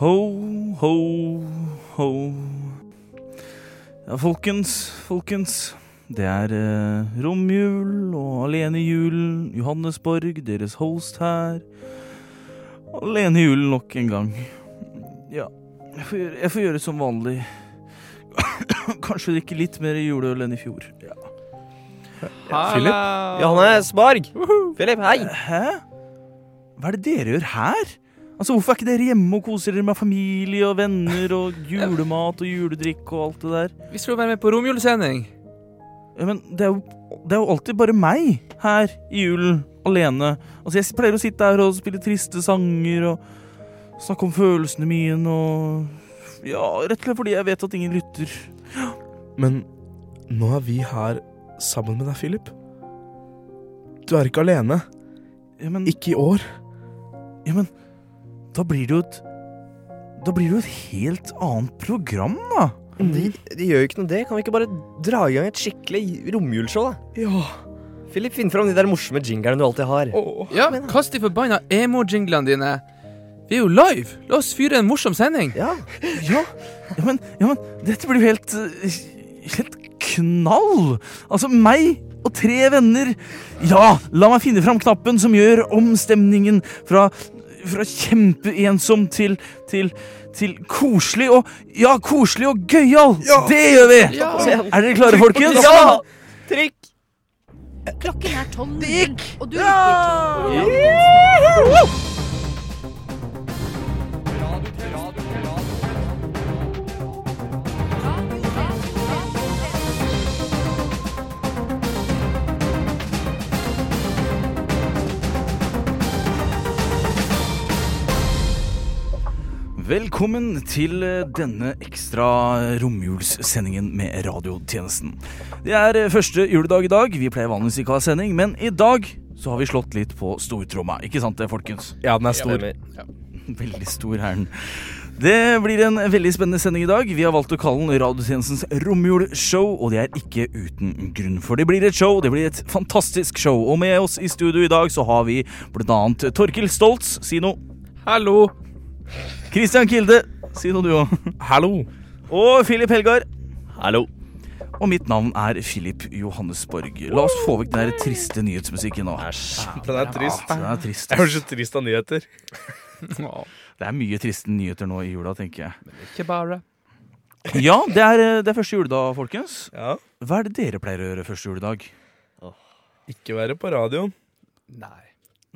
Ho, ho, ho. Ja, folkens, folkens. Det er eh, romjul og alenejulen. Johannesborg, deres host her. Alenejulen nok en gang. Ja, jeg får gjøre, jeg får gjøre som vanlig. Kanskje drikke litt mer juleøl enn i fjor. Ja. Philip? Johannes Borg! Philip, hei! Hæ? Hva er det dere gjør her? Altså, Hvorfor er ikke dere hjemme og koser dere med familie og venner og julemat og juledrikk og alt det der? Vi skulle være med på romjulesending. Ja, men det er, jo, det er jo alltid bare meg her i julen, alene. Altså, Jeg pleier å sitte her og spille triste sanger og snakke om følelsene mine og Ja, rett og slett fordi jeg vet at ingen lytter. Men nå er vi her sammen med deg, Philip. Du er ikke alene. Ja, men, Ikke i år. ja, men da blir det jo et Da blir det jo et helt annet program, da. De, de gjør jo ikke noe det. Kan vi ikke bare dra i gang et skikkelig romjulsshow, da? Ja. Philip, finn fram de der morsomme jinglerne du alltid har. Åh. Ja, kast de forbanna emo-jinglene dine. Vi er jo live! La oss fyre en morsom sending. Ja. Ja, ja, men, ja, men dette blir jo helt eh, Helt knall! Altså, meg og tre venner. Ja, la meg finne fram knappen som gjør omstemningen fra, fra kjempeensom til, til til koselig og Ja, koselig og gøyal! Ja. Det gjør vi! Ja. Er dere klare, folkens? Ja! Trykk! Klokken er tolv. Det gikk! Og du lytter til Velkommen til eh, denne ekstra romjulssendingen med radiotjenesten. Det er eh, første juledag i dag. Vi pleier vanligvis ikke å ha sending, men i dag så har vi slått litt på stortromma. Ikke sant det, folkens? ja, den er stor. Stemmer. Veldig stor er den. Det blir en veldig spennende sending i dag. Vi har valgt å kalle den Radiotjenestens romjulsshow, og det er ikke uten grunn. For det blir et show, det blir et fantastisk show. Og med oss i studio i dag så har vi blant annet Torkil Stoltz, si noe. Hallo. Christian Kilde, si noe du òg. Hallo. Og Filip Helgar. Hallo. Og mitt navn er Filip Johannesborg. La oss få vekk den der triste nyhetsmusikken nå. Æsj. Den er trist. Den er trist. Jeg er så ass. trist av nyheter. Det er mye triste nyheter nå i jula, tenker jeg. Ikke bare. Ja, det er, eh, det er første juledag, folkens. Ja. Hva er det dere pleier å gjøre første juledag? Ikke være på radioen. Nei.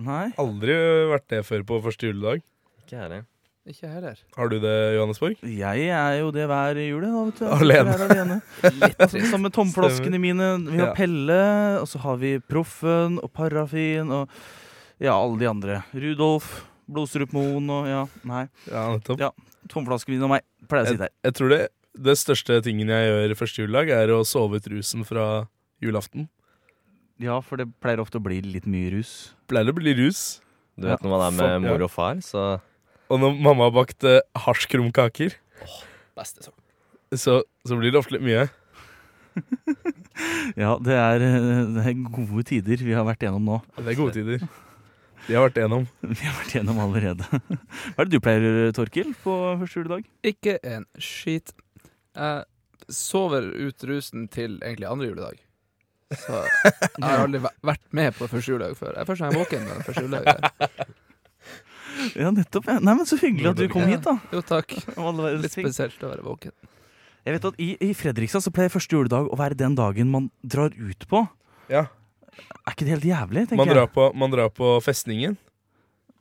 Nei? Aldri vært det før på første juledag. Ikke her, Ikke jeg heller. Har du det, Johannesborg? Jeg er jo det hver jul. Da, vet du. Alene. Jeg er alene. Litt trist. Sammen med tomflaskene mine. Vi har Ja. Pelle, og så har vi Proffen og Parafin og ja, alle de andre. Rudolf, Blodstrup Moen og ja, nei. Ja, nettopp. Ja. Tomflaskene mine og meg pleier å sitte her. Jeg tror det, det største tingen jeg gjør første juledag, er å sove ut rusen fra julaften. Ja, for det pleier ofte å bli litt mye rus. Pleier å bli rus. Du vet når man er Fuck, med ja. mor og far, så Og når mamma har bakt eh, hasjkrumkaker, Beste sang. så, så blir det ofte litt mye. Ja, det er, eh, det er gode tider vi har vært gjennom nå. Det er gode tider. De har vært gjennom. Vi har vært gjennom allerede. Hva er det du pleier å gjøre, Torkil, på første juledag? Ikke en skit. Jeg sover ut rusen til egentlig andre juledag. Så jeg har aldri væ- vært med på første juledag før. Jeg er først når jeg er våken. på første juledag. Ja, nettopp. Ja. Nei, men Så hyggelig at du kom Ja. hit, da. Jo, takk. Om alle verdens Litt ting. spesielt å være våken. Jeg vet at i, I Fredrikstad så pleier første juledag å være den dagen man drar ut på. Ja. Er ikke det helt jævlig? tenker Man drar, jeg? på, man drar på festningen.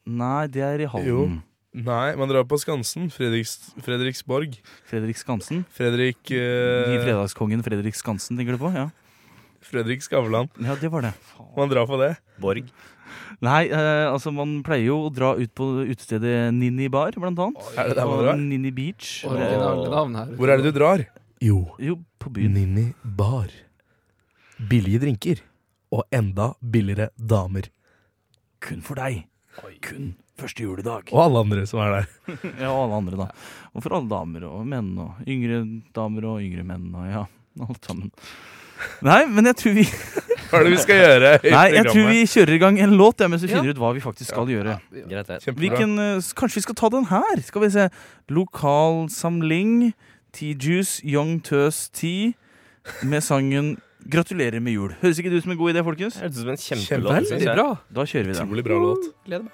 Nei, det er i Halden. Nei, man drar på Skansen. Fredriks, Fredriksborg. Fredrik Skansen. Fredrik Ny eh, fredagskongen Fredrik Skansen, tenker du på? Ja, Fredrik Skavlan. ja det var det. Man drar på det. Borg. Nei, eh, altså man pleier jo å dra ut på utestedet Ninni Bar, blant annet. Er det der man Og drar? Ninni Beach. Åh. Originale navn her. Hvor er det du drar? Jo, Jo, på byen. Nini Bar. Billige drinker. Og enda billigere damer. Kun for deg. Kun første juledag. Og alle andre som er der. Ja, og alle andre, da. Og for alle damer og menn og yngre damer og yngre menn og ja, alt sammen. Nei, men jeg tror vi Hva er det vi skal gjøre? i Nei, jeg tror programmet? vi kjører i gang en låt, ja, mens vi finner ut hva vi faktisk skal gjøre. Greit, det. Kjempebra. Hvilken, eh, s- kanskje vi skal ta den her? Skal vi se. Lokalsamling, T-Juice, Young Tøs Tea med sangen 'Gratulerer med jul'. Høres ikke det ut som en god idé, folkens? Det Hørtes ut som en Kjempe- kjempelåt. synes Veldig jeg. bra. Da kjører vi den. Utrolig bra låt. Gleder meg.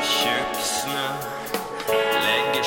Tjukksnø legger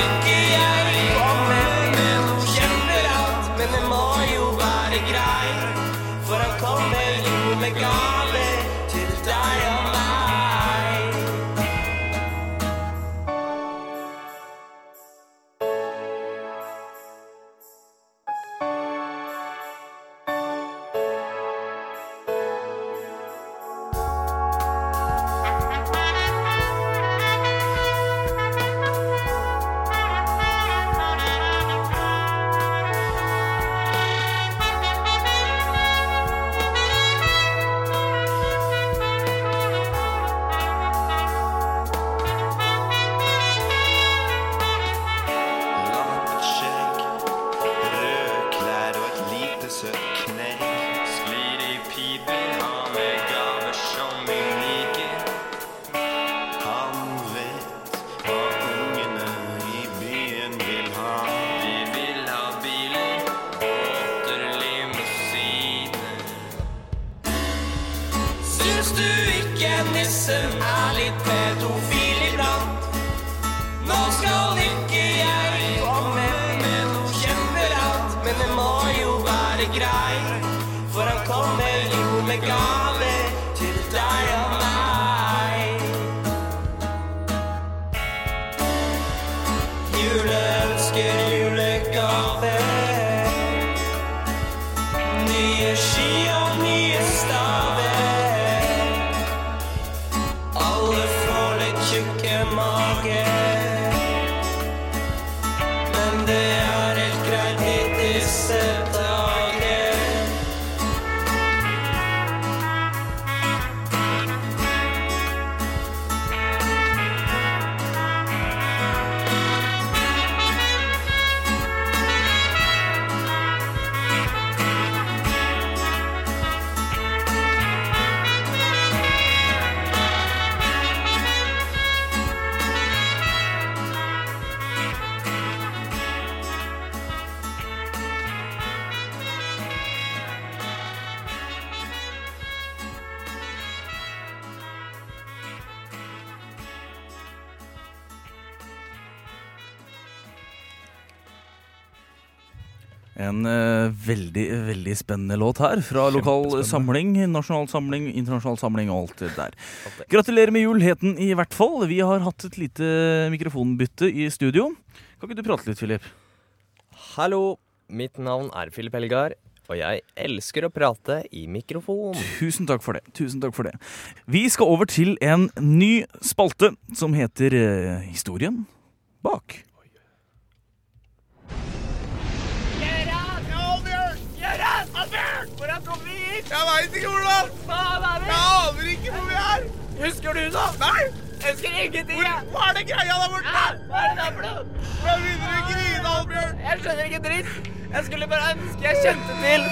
ikke jeg komme med noe kjemperant, men det må jo være greit, for han kommer jo med gaver til deg og meg. Langt skjegg, røde klær og et lite søtt knerk. Sklir i pipen, har med gaver som vi liker. Han vet hva ungene i byen vil ha. De vil ha biler, båter, limousiner. Syns du ikke nissen er litt pedofil iblant? Nå skal ikke jeg komme med noe kjemperant, men det må jo være greit, for han kommer jo med gave til deg og meg. Juleønsker, julegaver, nye ski og nye staver. Alle får litt tjukke mager. Men det er helt greit i disse dager. En eh, veldig, veldig spennende låt her fra lokal samling, nasjonal samling, internasjonal samling og alt det der. Gratulerer med jul, het den i hvert fall. Vi har hatt et lite mikrofonbytte i studio. Kan ikke du prate litt, Philip? Hallo, mitt navn er Filip Helgar, og jeg elsker å prate i mikrofon. Tusen takk for det. Tusen takk for det. Vi skal over til en ny spalte som heter eh, Historien bak.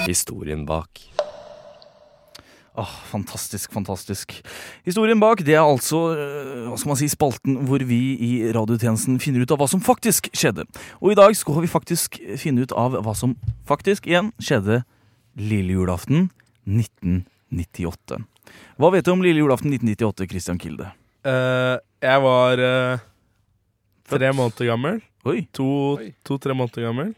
Historien bak. Åh, fantastisk, fantastisk. Historien bak det er altså øh, hva skal man si, spalten hvor vi i radiotjenesten finner ut av hva som faktisk skjedde. Og i dag skal vi faktisk finne ut av hva som faktisk igjen skjedde lille julaften 1998. Hva vet du om lille julaften 1998, Christian Kilde? Eh, jeg var eh, tre måneder gammel. Oi, To- Oi. To-tre måneder gammel.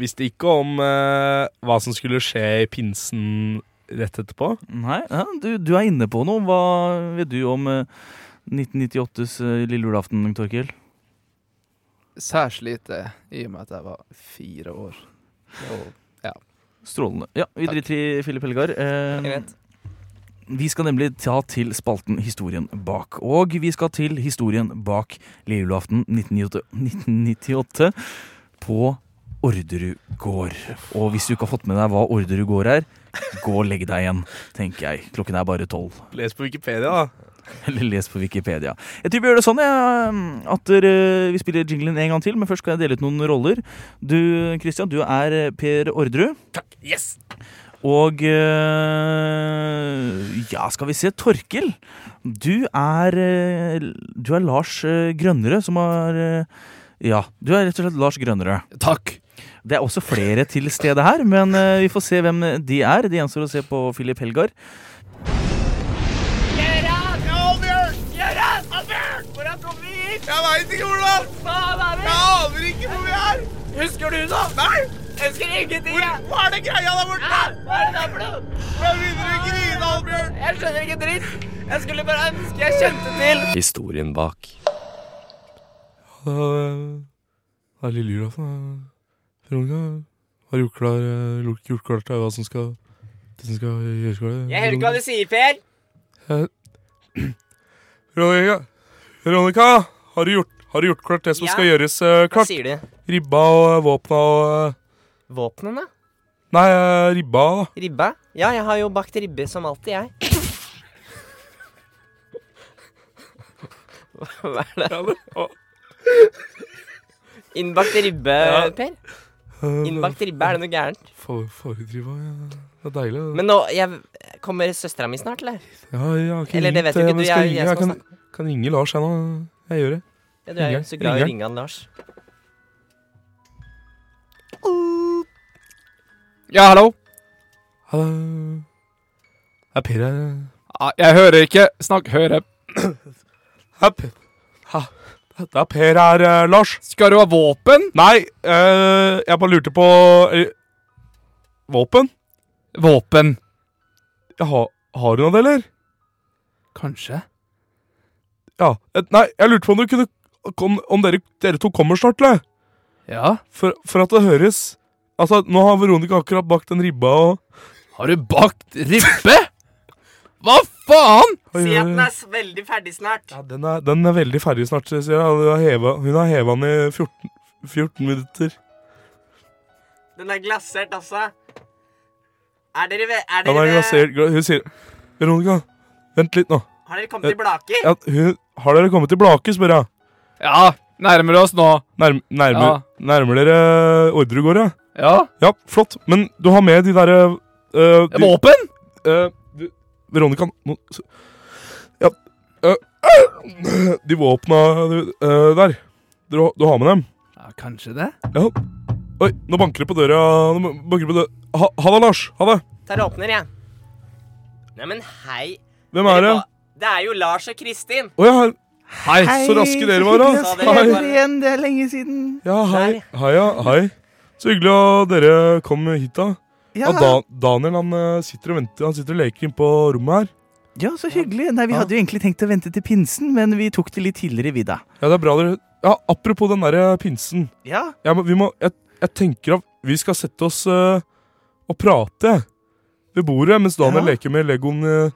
Visste ikke om eh, hva som skulle skje i pinsen rett etterpå. Nei, ja, du, du er inne på noe. Hva vet du om eh, 1998s eh, lille julaften, Torkil? Særs lite, i og med at jeg var fire år. Og Strålende. Ja, vi Takk. driter i Filip Helgar. Eh, Greit. Vi skal nemlig ta til spalten Historien bak. Og vi skal til historien bak lille julaften 1998, 1998 på Orderud gård. Og hvis du ikke har fått med deg hva Orderud gård er, gå og legg deg igjen, tenker jeg. Klokken er bare tolv. Les på Wikipedia, da. Eller les på Wikipedia. Jeg tror vi gjør det sånn jeg, at dere- eh, vi spiller jinglen en gang til, men først skal jeg dele ut noen roller. Du Christian, du er eh, Per Orderud. Takk. Yes! Og eh, ja, skal vi se. Torkil, du er, eh, du er Lars eh, Grønnerød, som har eh, Ja, du er rett og slett Lars Grønnerød. takk! Det er også flere til stede her, men eh, vi får se hvem de er. Det gjenstår å se på Filip Helgar. Historien bak. Da eh, er lille julaften. da. Veronica har gjort klar, eh, gjort- gjort klart eh, hva som skal Det som skal gjøres klart. Jeg hører ikke hva du sier, Per. Veronica, Veronica har, du gjort, har du gjort klart det som Ja. skal gjøres eh, Hva klart? sier de? Ribba og våpna og eh, Våpnene? Nei, eh, ribba, da. Ribba? Ja, jeg har jo bakt ribbe som alltid, jeg. Hva er det? Innbakt ribbe, Ja. Per? Eh, Innbakt ribbe, er det noe gærent? for- Forhudribba, ja. Det er deilig. det. Men nå jeg Kommer søstera mi snart, eller? ja, jeg har ikke Eller det ringt, vet jo eh, ikke men du. skal Jeg, ringe. jeg jeg skal kan, snakke. kan ringe Lars, jeg nå. Jeg gjør det. Ja, du er jo ringer. så glad i å Ringer. ringe han Lars. Ja, hallo? Ha det. Er Per her? Ah, Jeg hører ikke. Snakk høyere. Hei, Per. Ha. Det er Per her, eh, Lars. Skal du ha våpen? Nei, eh, jeg bare lurte på eh, Våpen? Våpen. Jeg har, har du noe, eller? Kanskje. Ja. eh, Nei, jeg lurte på om du kunne Om, om dere, dere to kommer snart, eller? Ja. For, for at det høres Altså, nå har Veronica akkurat bakt en ribba og Har du bakt ribbe? Hva faen? Si at den er s- veldig ferdig snart. ja, den, er, den er veldig ferdig snart, sier jeg. Hun har heva- Hun har heva den i 14, 14 minutter. Den er glasert også. Er dere, ve- er Den er dere glasert gla- Hun sier Veronica, vent litt nå. Har dere kommet til Blaker? Ja, hun, har dere kommet til Blake, spør jeg. Ja, nærmer oss nå. Nærm, nærmer, Ja. nærmer dere Ordregård, ja? Ja. Ja, flott. Men du har med de derre øh, de- Våpen? øh, du- Veronica nå s- Ja. øh, øh, de våpna du, øh, der. Du, har- du har med dem? Ja, kanskje det. Ja. Oi, nå banker det på døra. Nå banker det på døra. Ha, ha det, Lars. Ha det. Tar og åpner, jeg. Neimen, hei. Hvem er det? Dere ba- Det er jo Lars og Kristin. Å ja, hei. Så raske dere var, da. så hyggelig å se dere. Hei. igjen, det er lenge siden. Ja, hei. Der. Hei, ja. Hei. Så hyggelig at dere kom hit, da. Ja, da, Daniel han eh, sitter og venter Han sitter og leker inn på rommet her. Ja, så hyggelig. Nei, Vi Ja. hadde jo egentlig tenkt å vente til pinsen, men vi tok det litt tidligere, vi, da. Ja, det er bra dere Ja, Apropos den derre pinsen. Ja. Jeg, må- vi må, jeg, jeg tenker at vi skal sette oss eh, og prate jeg, ved bordet mens Daniel Ja. leker med Legoen. eh.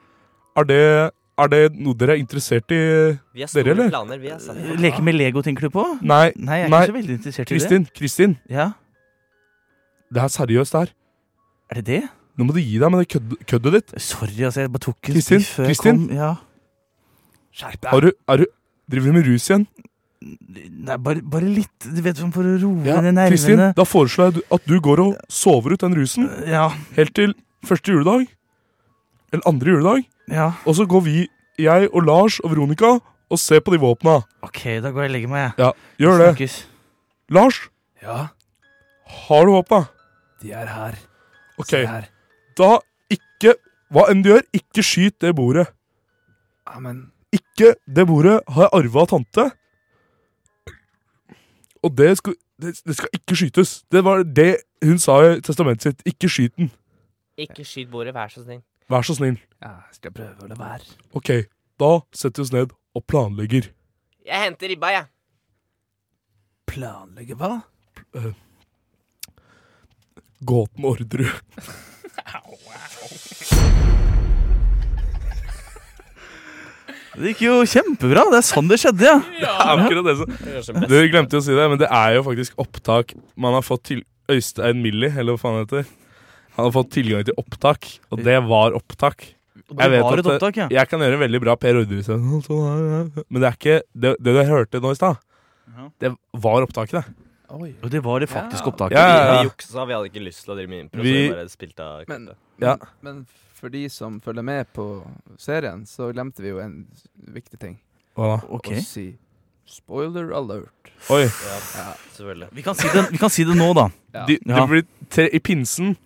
Er det, er det noe dere er interessert i? Vi har Dere, eller? store planer, vi. Altså. Eh, Leke med Lego, tenker du på? Nei, Nei, jeg er Nei. ikke så veldig interessert i det. Kristin. Kristin, Ja, det er seriøst det her. Er det det? Nå må du gi deg med det kødd, køddet ditt. Sorry, altså. Jeg bare tok en Kristin, sniff før jeg Kristin? kom. Ja. Skjerp Har du, er du Driver du med rus igjen? Nei, bare, bare litt, du vet, sånn for å roe ned Kristin, nervene. da foreslår jeg du- at du går og sover ut den rusen Ja, helt til første juledag. Eller andre juledag. ja. Og så går vi, jeg og Lars og Veronica, og ser på de våpna. Ok, da går jeg og legger meg, jeg. Ja, gjør det. Snakkes. Lars, Ja, har du våpna? de er her. Ok, Se her. da ikke Hva enn du gjør, ikke skyt det bordet. Ja, men Ikke det bordet har jeg arva av tante. Og det, skal, det, det skal ikke skytes. Det var det hun sa i testamentet sitt. Ikke skyt den. Ikke skyt bordet, vær så snill. Vær så snill. Ja, skal prøve å la være. Ok, da setter vi oss ned og planlegger. Jeg henter ribba, jeg. Planlegge hva? Gåten Orderud. Det gikk jo kjempebra. Det er sånn det skjedde, ja. Akkurat det som Du glemte jo å si det, men det er jo faktisk opptak man har fått til Øystein Millie, eller hva faen det heter. Han har fått tilgang til opptak, og det var opptak. Det vet var at et det- opptak, ja. Jeg kan gjøre en veldig bra Per Orderud-scene, sånn her, men det er ikke det, det du hørte nå i stad. Ja. Det var opptaket, det. Oi. Og det var det faktisk Ja. opptaket. Ja, ja, Vi ja. juksa, vi hadde ikke lyst til å drive med impro. Vi- så vi bare spilte av Men- kuttet. Ja. Men, men for de som følger med på serien, så glemte vi jo en viktig ting. Hva da? Ok. Å si spoiler alert. Oi. Ja, Ja. selvfølgelig. Vi kan, si det, vi kan si det nå, da. Ja. De, det Ja. blir tre, I pinsen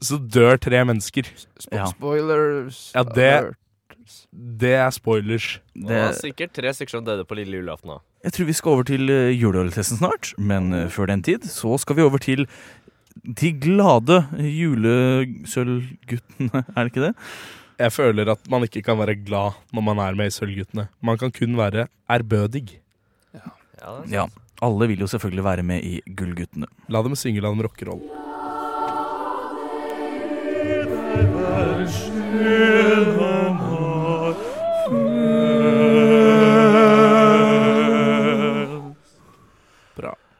så dør tre mennesker. Spo Ja. Spoilers Ja, det- alert. Det er spoilers. Det Det, var sikkert tre stykker som døde på lille julaften òg. jeg tror vi skal over til eh, juleøltesten snart, men eh, før den tid så skal vi over til de glade julesølvguttene, er det ikke det? Jeg føler at man ikke kan være glad når man er med i Sølvguttene. Man kan kun være ærbødig. Ja, det er sant. Ja. Alle vil jo selvfølgelig være med i Gullguttene. La dem synge, la dem rockeroll.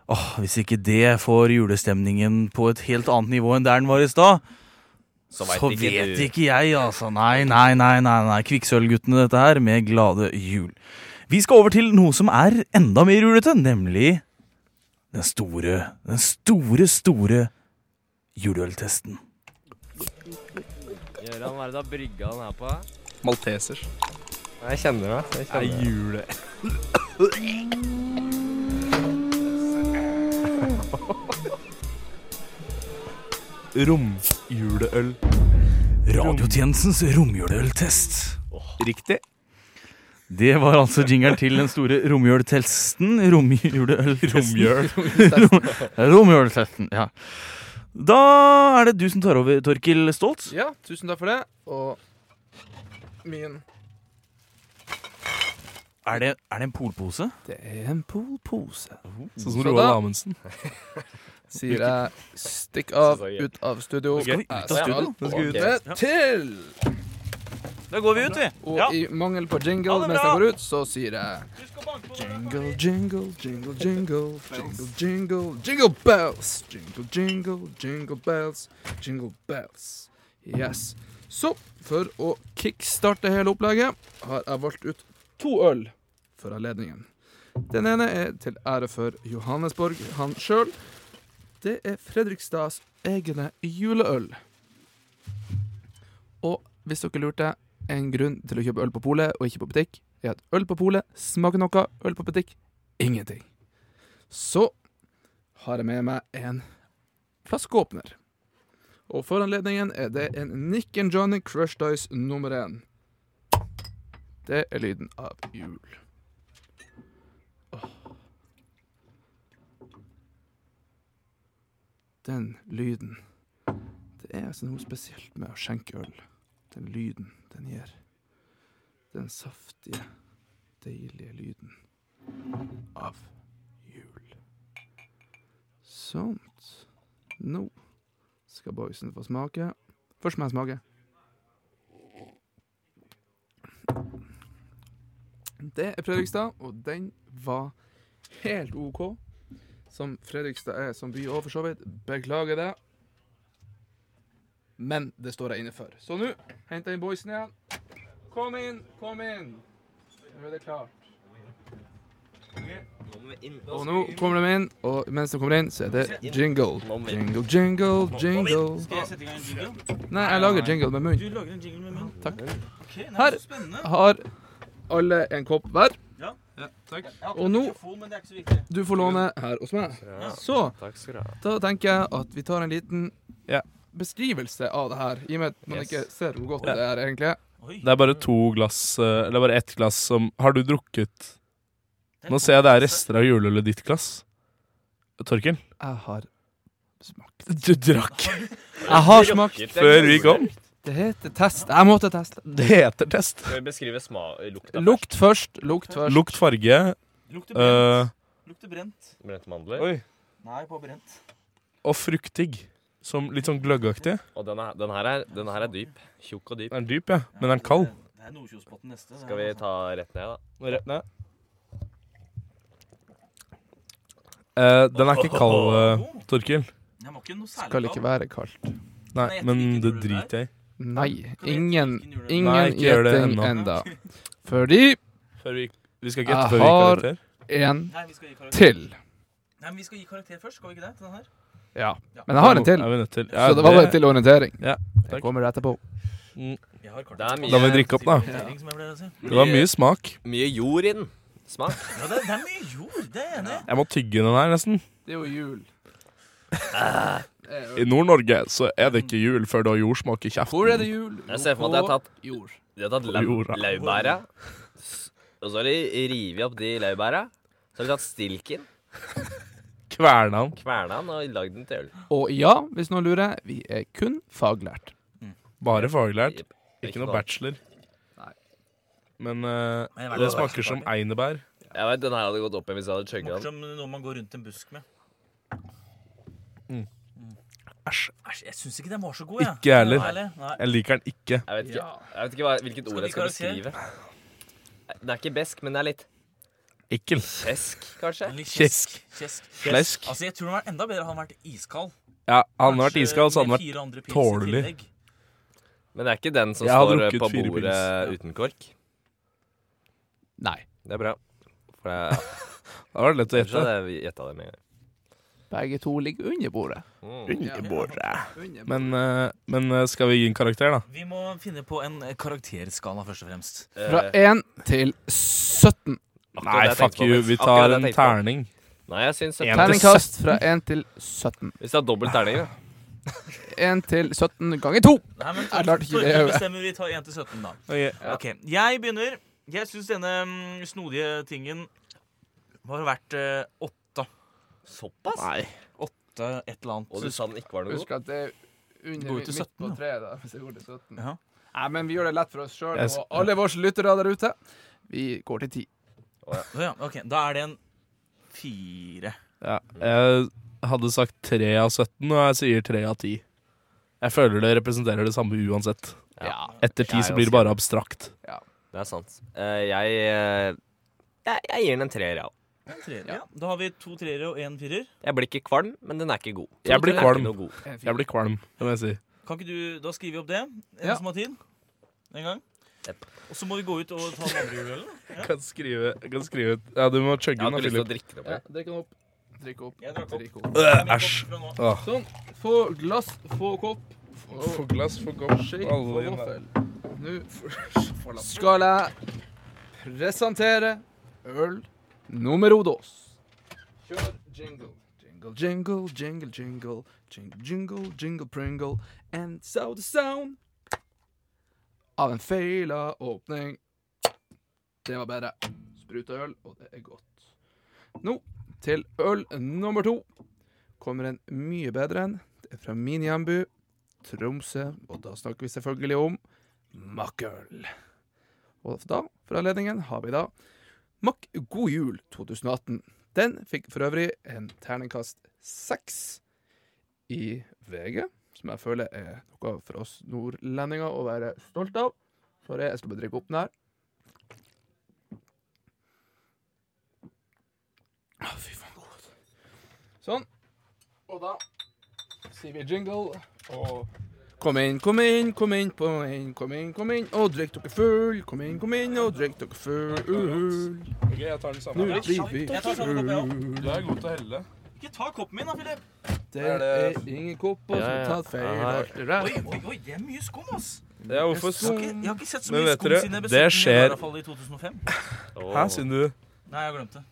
Åh, Hvis ikke det får julestemningen på et helt annet nivå enn der den var i stad, Så så vet ikke jeg, altså. Nei, nei, nei. nei, nei. Kvikksølvguttene, dette her, med Glade jul. Vi skal over til noe som er enda mer julete, nemlig den store, den store, store juleøltesten. Gjøran, hva er det du har brygga den her på? Maltesers. Jeg kjenner det. Jeg Det er jule... Romjuleøl. Radiotjenestens romjuleøltest. Riktig. Det var altså jingeren til den store romjultesten. Romjuleøltesten. Romjøl. Romjultesten, ja. Da er det du som tar over, Torkil Stolt. Ja, tusen takk for det. Og min Er det, er det en polpose? Det er en polpose. Sånn som Så Roald da- Amundsen. Sier jeg stikk av, ut av studio. Skal vi ut av Jeg skal studio? Nå skal vi ut. videre Til! Da går vi ut, vi. Og Ja. i mangel på jingle Ha det mens bra! jeg går ut, så sier jeg Jingle, jingle, jingle, jingle, jingle, jingle, jingle bells. Jingle, jingle, jingle bells, jingle bells. Yes. Så for å kickstarte hele opplegget har jeg valgt ut to øl for anledningen. Den ene er til ære for Johannesborg han sjøl. Det er Fredrikstads egne juleøl. Og hvis dere lurte, en grunn til å kjøpe øl på polet og ikke på butikk, er at øl på polet smaker noe, øl på butikk ingenting. Så har jeg med meg en flaskeåpner. Og for anledningen er det en Nick and Johnny Crush Dice nummer én. Det er lyden av jul. Åh. Den lyden Det er altså noe spesielt med å skjenke øl. Den lyden den gir. Den saftige, deilige lyden av jul. Sånt. Nå skal boysen få smake. Først må jeg smake. Det er Fredrikstad, og den var helt OK. Som Fredrikstad er som by òg, for så vidt. Beklager det. Men det står jeg inne for. Så nå henter jeg inn boysen igjen. Kom inn, kom inn. Nå er det klart. Og nå kommer de inn, og mens de kommer inn, så er det jingle. Jingle, jingle, jingle. Skal jeg sette i gang en jingle? Nei, jeg lager jingle med munnen. Du lager en jingle med munn. Takk. Okay, Her. Så spennende. Har alle en kopp hver? Ja. takk. Jeg har ikke Og nå mikrofon, men det er ikke så viktig. du får låne her hos meg. Så Takk skal du ha. da tenker jeg at vi tar en liten Ja. beskrivelse av det her, i og med at man Yes. ikke ser hvor godt det er egentlig. Oi. Det er bare to glass eh, Eller bare ett glass som Har du drukket Nå ser jeg det er rester av juleølet i ditt glass. Torkel? Jeg har smakt. Du drakk. Jeg har smakt før vi kom. Det heter test. Jeg måtte teste. Det heter test. Skal vi beskrive sma lukta Lukt først. Lukt først. Lukt, farge Lukter øh, Lukter brent. først? Brente mandler. Oi. Nei, på brent. og fruktig. Som litt sånn gløggaktig. Og den, er, den, her er, den her er dyp. Tjukk og dyp. Den er dyp, ja. Men den er kald. Det er Nordkjosbotn neste. Skal vi ta rett ned, da? Rett ned. Eh, den er ikke kald, eh, Torkil. Jeg må ikke noe særlig Skal ikke være kaldt. Nei, men det driter jeg i. Nei. Ingen Nei, ingen ikke gjør det gjetting ennå. enda. Fordi Før vi, vi skal Jeg gjette før vi gir har- karakter. en Nei, vi skal gi karakter. til. Nei, men vi skal gi karakter først, skal vi ikke det? Til den her? Ja. Men jeg har en til. Er vi nødt til. Ja, Så det var bare til orientering. Ja, Det takk. kommer etterpå. Jeg har Det er Da må mye, vi drikke opp, da. karakter, som jeg ble å si. Det var mye smak. mye jord i den. Smak. Ja, det, det er mye jord, det er jeg enig. i. Jeg må tygge den her, nesten. Det er jo jul. I Nord-Norge så er det ikke jul før du har jordsmak i Hvor er kjeften. det jul? Jeg ser for meg at jeg har tatt, Jord. jeg har tatt jorda. lau- laurbæra. S- Og så har de revet opp de laurbæra. Så har de tatt stilken, Kverna den. kverna den og lagd den til øl. Og ja, hvis noen lurer, vi er kun faglært. Bare faglært. Jep. Ikke noe noe. bachelor. Nei. Men eh, Men jeg vet det ikke hva smaker som einebær. Jeg vet, Den her hadde gått opp igjen hvis jeg hadde chugga Smaker den. som noe man går rundt en busk med. Mm. Æsj. Æsj, Jeg syns ikke den var så god, jeg. Ikke jeg heller. Ærlig, Nei. Jeg liker den ikke. Jeg vet ikke, jeg vet ikke hva, hvilket Skal ord jeg vi skal beskrive. Det er ikke besk, men det er litt Ekkel. kjesk, kanskje. Litt Kjesk. Kjesk. Kjesk. Flesk. Altså, jeg tror den var enda bedre hadde den vært iskald. Ja, hadde den vært Kanskje iskald, så hadde den med vært fire andre pils i tålelig. tillegg. Men det er ikke den som Jeg hadde står eh, drukket på fire bordet pils. uten kork. Nei. Det er bra. For jeg, Det hadde vært lett å jeg gjette. hadde jeg gjetta det med en gang. Begge to ligger under bordet. Mm. Men, eh, men eh, skal vi gi en karakter, da? Vi må finne på en eh, karakterskala, først og fremst. Fra Eh, 1 til 17. akkurat Nei, det jeg fuck tenkte på, you. men- Vi akkurat tar det en jeg tenkte på. terning. Nei, jeg syns En til Terningkast fra 1 til 17. Hvis det er dobbelt terning, da. 1 til 17 ganger 2. Nei, men Jeg klarte ikke det, jeg. bestemmer vi tar 1 til 17, da. Ok, Jeg begynner. Jeg syns denne mm, snodige tingen var verdt eh, åtte. Såpass? Åtte et eller annet. Og du sa den ikke var noe god? Husk at det er Det går under jo til midt 17, på da. treet. da, hvis det går til 17. Ja. Nei, men vi gjør det lett for oss sjøl Jeg s- og alle våre lyttere der ute. Vi går til 10. Å ja, ok, Da er det en fire. Ja. Jeg hadde sagt 3 av 17, og jeg sier 3 av 10. Jeg føler det representerer det samme uansett. Ja. Etter 10 Jeg så er blir ganske- det bare abstrakt. Det er sant. Eh, jeg, eh, jeg Jeg gir den en treer, ja. En treer, ja. Da har vi to treere og en firer. Jeg blir ikke kvalm, men den er ikke god. Jeg blir Den er ikke kvalm. noe god. En Jeg fire. blir kvalm, det må jeg si. Kan ikke du, Da skriver vi opp det. En Ja. som har tid. En gang. Jep. Og så må vi gå ut og ta den andre juleølen. Jeg kan skrive, jeg kan skrive ut Ja, du må Jeg chugge har den, ikke da, lyst til å Philip. drikke det opp. Ja, jeg. drikk den opp. Drikk opp. Jeg drakk opp. Drikk opp. Øh, Æsj. Fra nå. Sånn. Få glass, få kopp. Få glass, få kopp, shake, få vaffel. Nå f- skal jeg presentere øl nummer dos. Kjør jingle. Jingle, jingle, jingle, jingle, jingle, jingle, jingle, pringle, and so the sound av en feila åpning. Det var bedre. Spruta øl, og det er godt. Nå til øl nummer to kommer en mye bedre en. Det er fra min hjemby, Tromsø, og da snakker vi selvfølgelig om makkøl. Og da, for anledningen, har vi da Makk god jul 2018. Den fikk for øvrig en terningkast seks i VG, som jeg føler er noe for oss nordlendinger å være stolt av. For jeg skal bare drikke opp den her. Å, Ah, fy faen, god. Sånn. Og da sier vi jingle og Kom inn, kom inn, kom inn, kom inn, kom inn, kom inn, og drikk dere full. Kom inn, kom inn, og drikk dere full. Ok, jeg tar den Nå samme. blir vi Jeg tar samme kopp, jeg full. Du er god til å helle. Ikke ta koppen min, da, Philip. Det er ingen kopper som Ja, ja. har tatt feil. Nei. alt sånn. det der. Oi, oi, oi, det er mye skum, ass. Ja, Jeg hvorfor har så ikke, jeg har ikke sett så Men mye vet skum dere, siden jeg det besøkte den i skjer- hvert fall i 2005. Åh. Hæ, synd du Nei, jeg glemte det.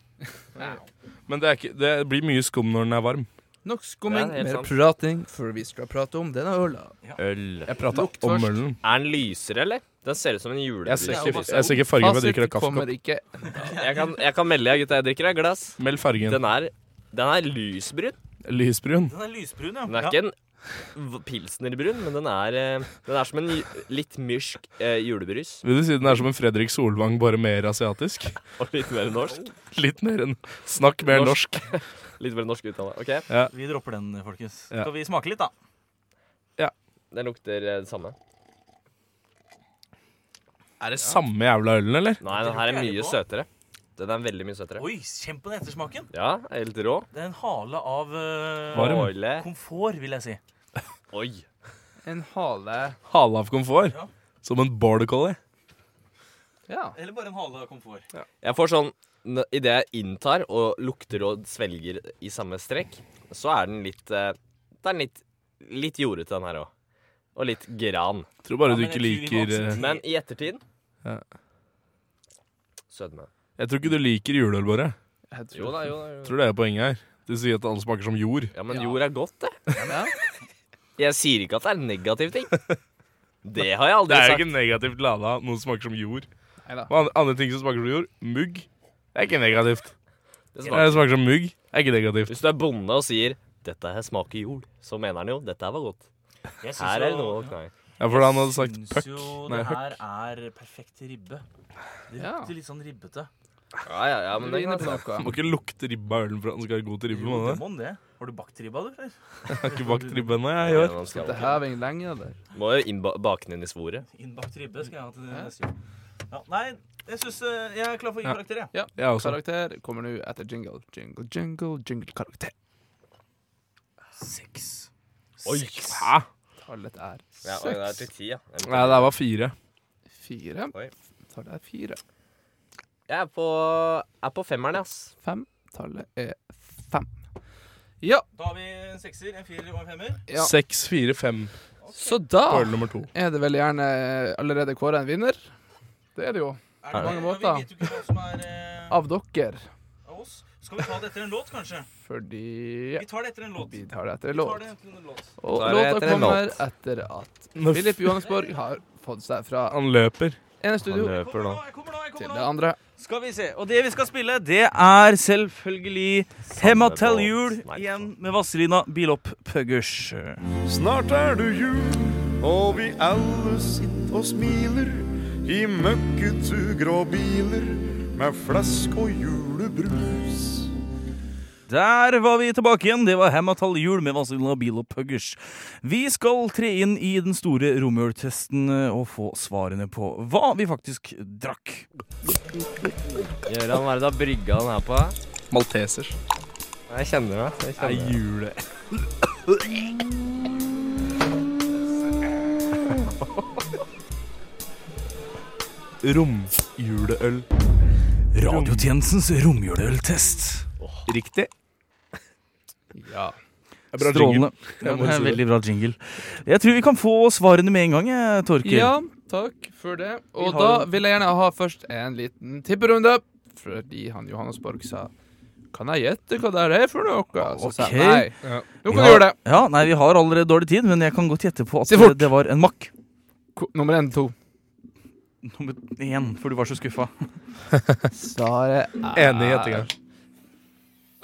Men det, er ikke, det blir mye skum når den er varm. Nok skumming, Ja, helt mer sant. prating, før vi skal prate om denne øla. Øl. Jeg prata Lukt om først. ølen. Er den lysere, eller? Den ser ut som en Jeg ser julelys. ikke, jeg ser ikke fargen, men jeg drikker en kommer kaffekopp. ikke. Jeg kan, jeg kan melde, jeg, gutta. Jeg drikker deg et glass. Meld fargen. Den er Den er lysbrun. Lysbrun. Den er lysbrun, ja. Den er ikke en v- pilsnerbrun, men den er, eh, den er som en ju- litt myrsk eh, julebrus. Vil du si den er som en Fredrik Solvang, bare mer asiatisk? Og litt mer norsk. Litt mer enn Snakk mer norsk. Litt mer norsk uttale. OK. Vi dropper den, folkens. Ja. Skal vi smake litt, da? Den lukter eh, det samme. Er det samme jævla ølen, eller? Nei, den her er mye søtere. Den er veldig mye søtere. Oi, kjenn på den ettersmaken. Ja, helt rå. Det er en hale av eh, Varm. Åle. komfort, vil jeg si. Oi. En hale Hale av komfort. Ja. Som en border collie. Ja. Eller bare en hale av komfort. Jeg får sånn n- i det jeg inntar og lukter og svelger i samme strekk, så er den litt eh, Det er litt, litt jordete, den her òg. Og litt gran. Tror bare Ja, du men ikke jeg tror vi må liker eh, akseptere- Men i ettertid Ja. Sødme. Jeg tror ikke du liker juleøl, bare. Jeg tror Jo da, jo da. Jo. da. Tror det er poenget her. Du sier at alle smaker som jord. Ja, men jord er godt, det. Ja. Jeg sier ikke at det er en negativ ting. Det har jeg Det aldri er jo sagt. ikke negativt lada noe som smaker som jord. Neida. Men andre- andre ting som smaker som jord, mugg, det er ikke negativt. Det Det smaker. smaker som mugg, det er ikke negativt. Hvis du er bonde og sier 'dette her smaker jord', så mener han jo 'dette her var godt'. Jeg syns Her er det jo- noe å knage. Ja, for han hadde sagt syns puck. jo Nei, det høkk. her er perfekt ribbe. Det Ja. lukter litt sånn ribbete. Ja, ja, ja, men Du det er er inne greit. på da. noe. Må ikke lukte ribba av ølen for at den skal være god til ribbe. Jo, Må det den det? må den det. Har du bakt ribba, du? eller? Jeg har ikke bakt ribbe ennå, jeg, i år. Man skal- Det her er ingen lenger, eller? Må jo innba- bake den inn i svoret. Innbakt ribbe skal jeg ha til neste jul. Ja, nei, jeg syns eh, jeg er klar for å gi Ja. karakter, jeg. Jeg også. Karakter kommer nå etter jingle. Jingle, jingle, jingle, karakter. Seks. Oi. Seks. Hæ? Tallet er Ja, oi, det er til seks. ti, ja. Nei, det her var fire. Fire. Oi. Tallet er fire. Jeg er på, er på femmeren, ass. Fem. Tallet er fem. Ja. Da har vi en sekser, en firer og en femmer. ja. Seks, fire, fem Så på da øl nummer to. er det vel gjerne allerede kåra en vinner. Det er det jo. Er Her. Mange ja, måter. Vi vet jo ikke hvem som er eh, Av dere. av oss. Skal vi ta det etter en låt, kanskje? Fordi Vi tar det etter en låt. vi tar det etter en Vi tar låt. det etter en låt. Og Tar det låta etter en kommer låt. etter at Når f- Philip Johannesborg har fått seg fra Han løper. ene studio Jeg kommer nå, jeg kommer nå, jeg til kommer det nå. andre. Skal vi se. Og det vi skal spille, det er selvfølgelig Hemma til jul Nei, igjen med Vazelina Bilopp Puggers. Snart er det jul, og vi alle sitter og smiler i møkketugrå biler med flask og julebrus. Der var vi tilbake igjen. Det var Hemma til jul med Vazelina Bilopp Puggers. Vi skal tre inn i den store romjultesten eh, og få svarene på hva vi faktisk drakk. Gjøran, hva er det du har brygga den her på? Maltesers. Jeg kjenner det. Jeg Det er kjenner det. jule... Romjuleøl. Radiotjenestens romjuleøltest. Riktig. Ja. bra Strålende. jingle. Ja, Jeg må det er si en det. veldig bra jingle. Jeg tror vi kan få svarene med en gang, eh, Torkil. Ja, takk for det. Og Vi har da jo- vil jeg gjerne ha først en liten tipperunde. Fordi han Johannesborg sa Kan jeg gjette hva det her er for noe? Så sa Ok. jeg nei. Ja. Nå Vi kan du har- gjøre det. Ja, nei, Vi har allerede dårlig tid, men jeg kan godt gjette på at Si fort! det var en makk. Ko- Nummer én, to. Nummer én, for du var så skuffa. Svaret Enig i gjettinga.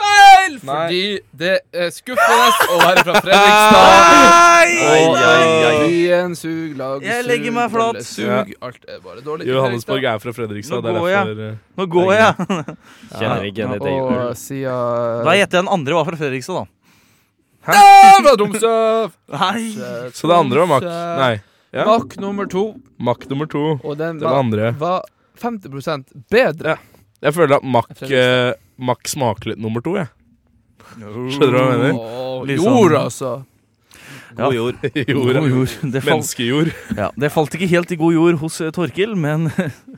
feil! Nei. Fordi det er skuffende å være fra Fredrikstad. Nei! Og ai, ai. byen sug, lag, Jeg legger meg sug, flat. alle Sug, alt er bare dårlig. i Johannesborg Fredrikstad. er fra Nå Fredrikstad. Det er går jeg. derfor eh, Nå går jeg. Kjenner ikke igjen ditt eget Og øl. siden Da gjetter jeg den andre var fra Fredrikstad, da. Ja, Fra Tromsø! Nei. Så det andre var Mack. Nei. Ja. Mack nummer to. Mack nummer to. Og den Det var var, andre. var 50 bedre. Jeg føler at Mack Fredrikstad. eh, Mack smaker litt nummer to, jeg. Skjønner du hva jeg mener? Åh, Litt liksom. jord, sånn- altså. Ja. God jord. Jord. God jord. Det falt, Menneskejord. ja, det falt ikke helt i god jord hos eh, Torkil, men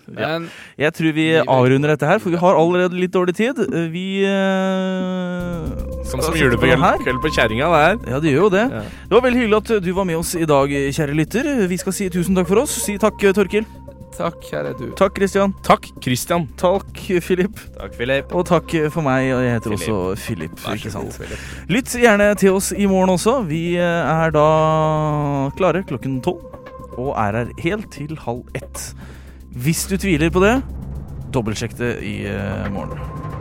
Ja. Men Jeg tror vi avrunder dette her, for vi har allerede litt dårlig tid. Vi eh, Sånn skal som sitte på den her. julekveld på kjerringa, det her. Ja, det gjør jo det. Ja. Det var veldig hyggelig at du var med oss i dag, kjære lytter. Vi skal si tusen takk for oss. Si takk, eh, Torkil. takk, kjære du. Takk, Christian. Takk, Christian. Takk, Philip. Takk, Filip. Og takk eh, for meg. Og jeg heter Philip. også Philip. Ikke sant? Philip. Lytt gjerne til oss i morgen også. Vi eh, er da klare klokken tolv. Og er her helt til halv ett. Hvis du tviler på det, dobbeltsjekk det i eh, morgen.